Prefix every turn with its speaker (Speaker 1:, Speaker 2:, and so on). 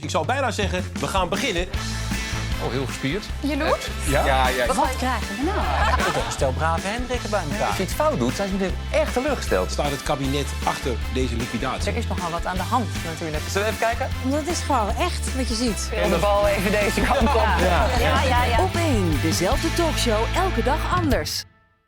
Speaker 1: Ik zou bijna zeggen, we gaan beginnen.
Speaker 2: Oh, heel gespierd.
Speaker 3: Jaloers?
Speaker 2: Ja, ja.
Speaker 3: Wat krijgen we nou?
Speaker 4: Toch een stel brave Hendrikken bij elkaar.
Speaker 2: Als je iets fout doet, zijn ze meteen echt teleurgesteld.
Speaker 1: Staat het kabinet achter deze liquidatie?
Speaker 3: Er is nogal wat aan de hand natuurlijk.
Speaker 4: Zullen we even kijken?
Speaker 5: Dat is gewoon echt wat je ziet.
Speaker 3: En de bal even deze kant op. Ja, ja, ja.
Speaker 6: Op één, dezelfde talkshow, elke dag anders.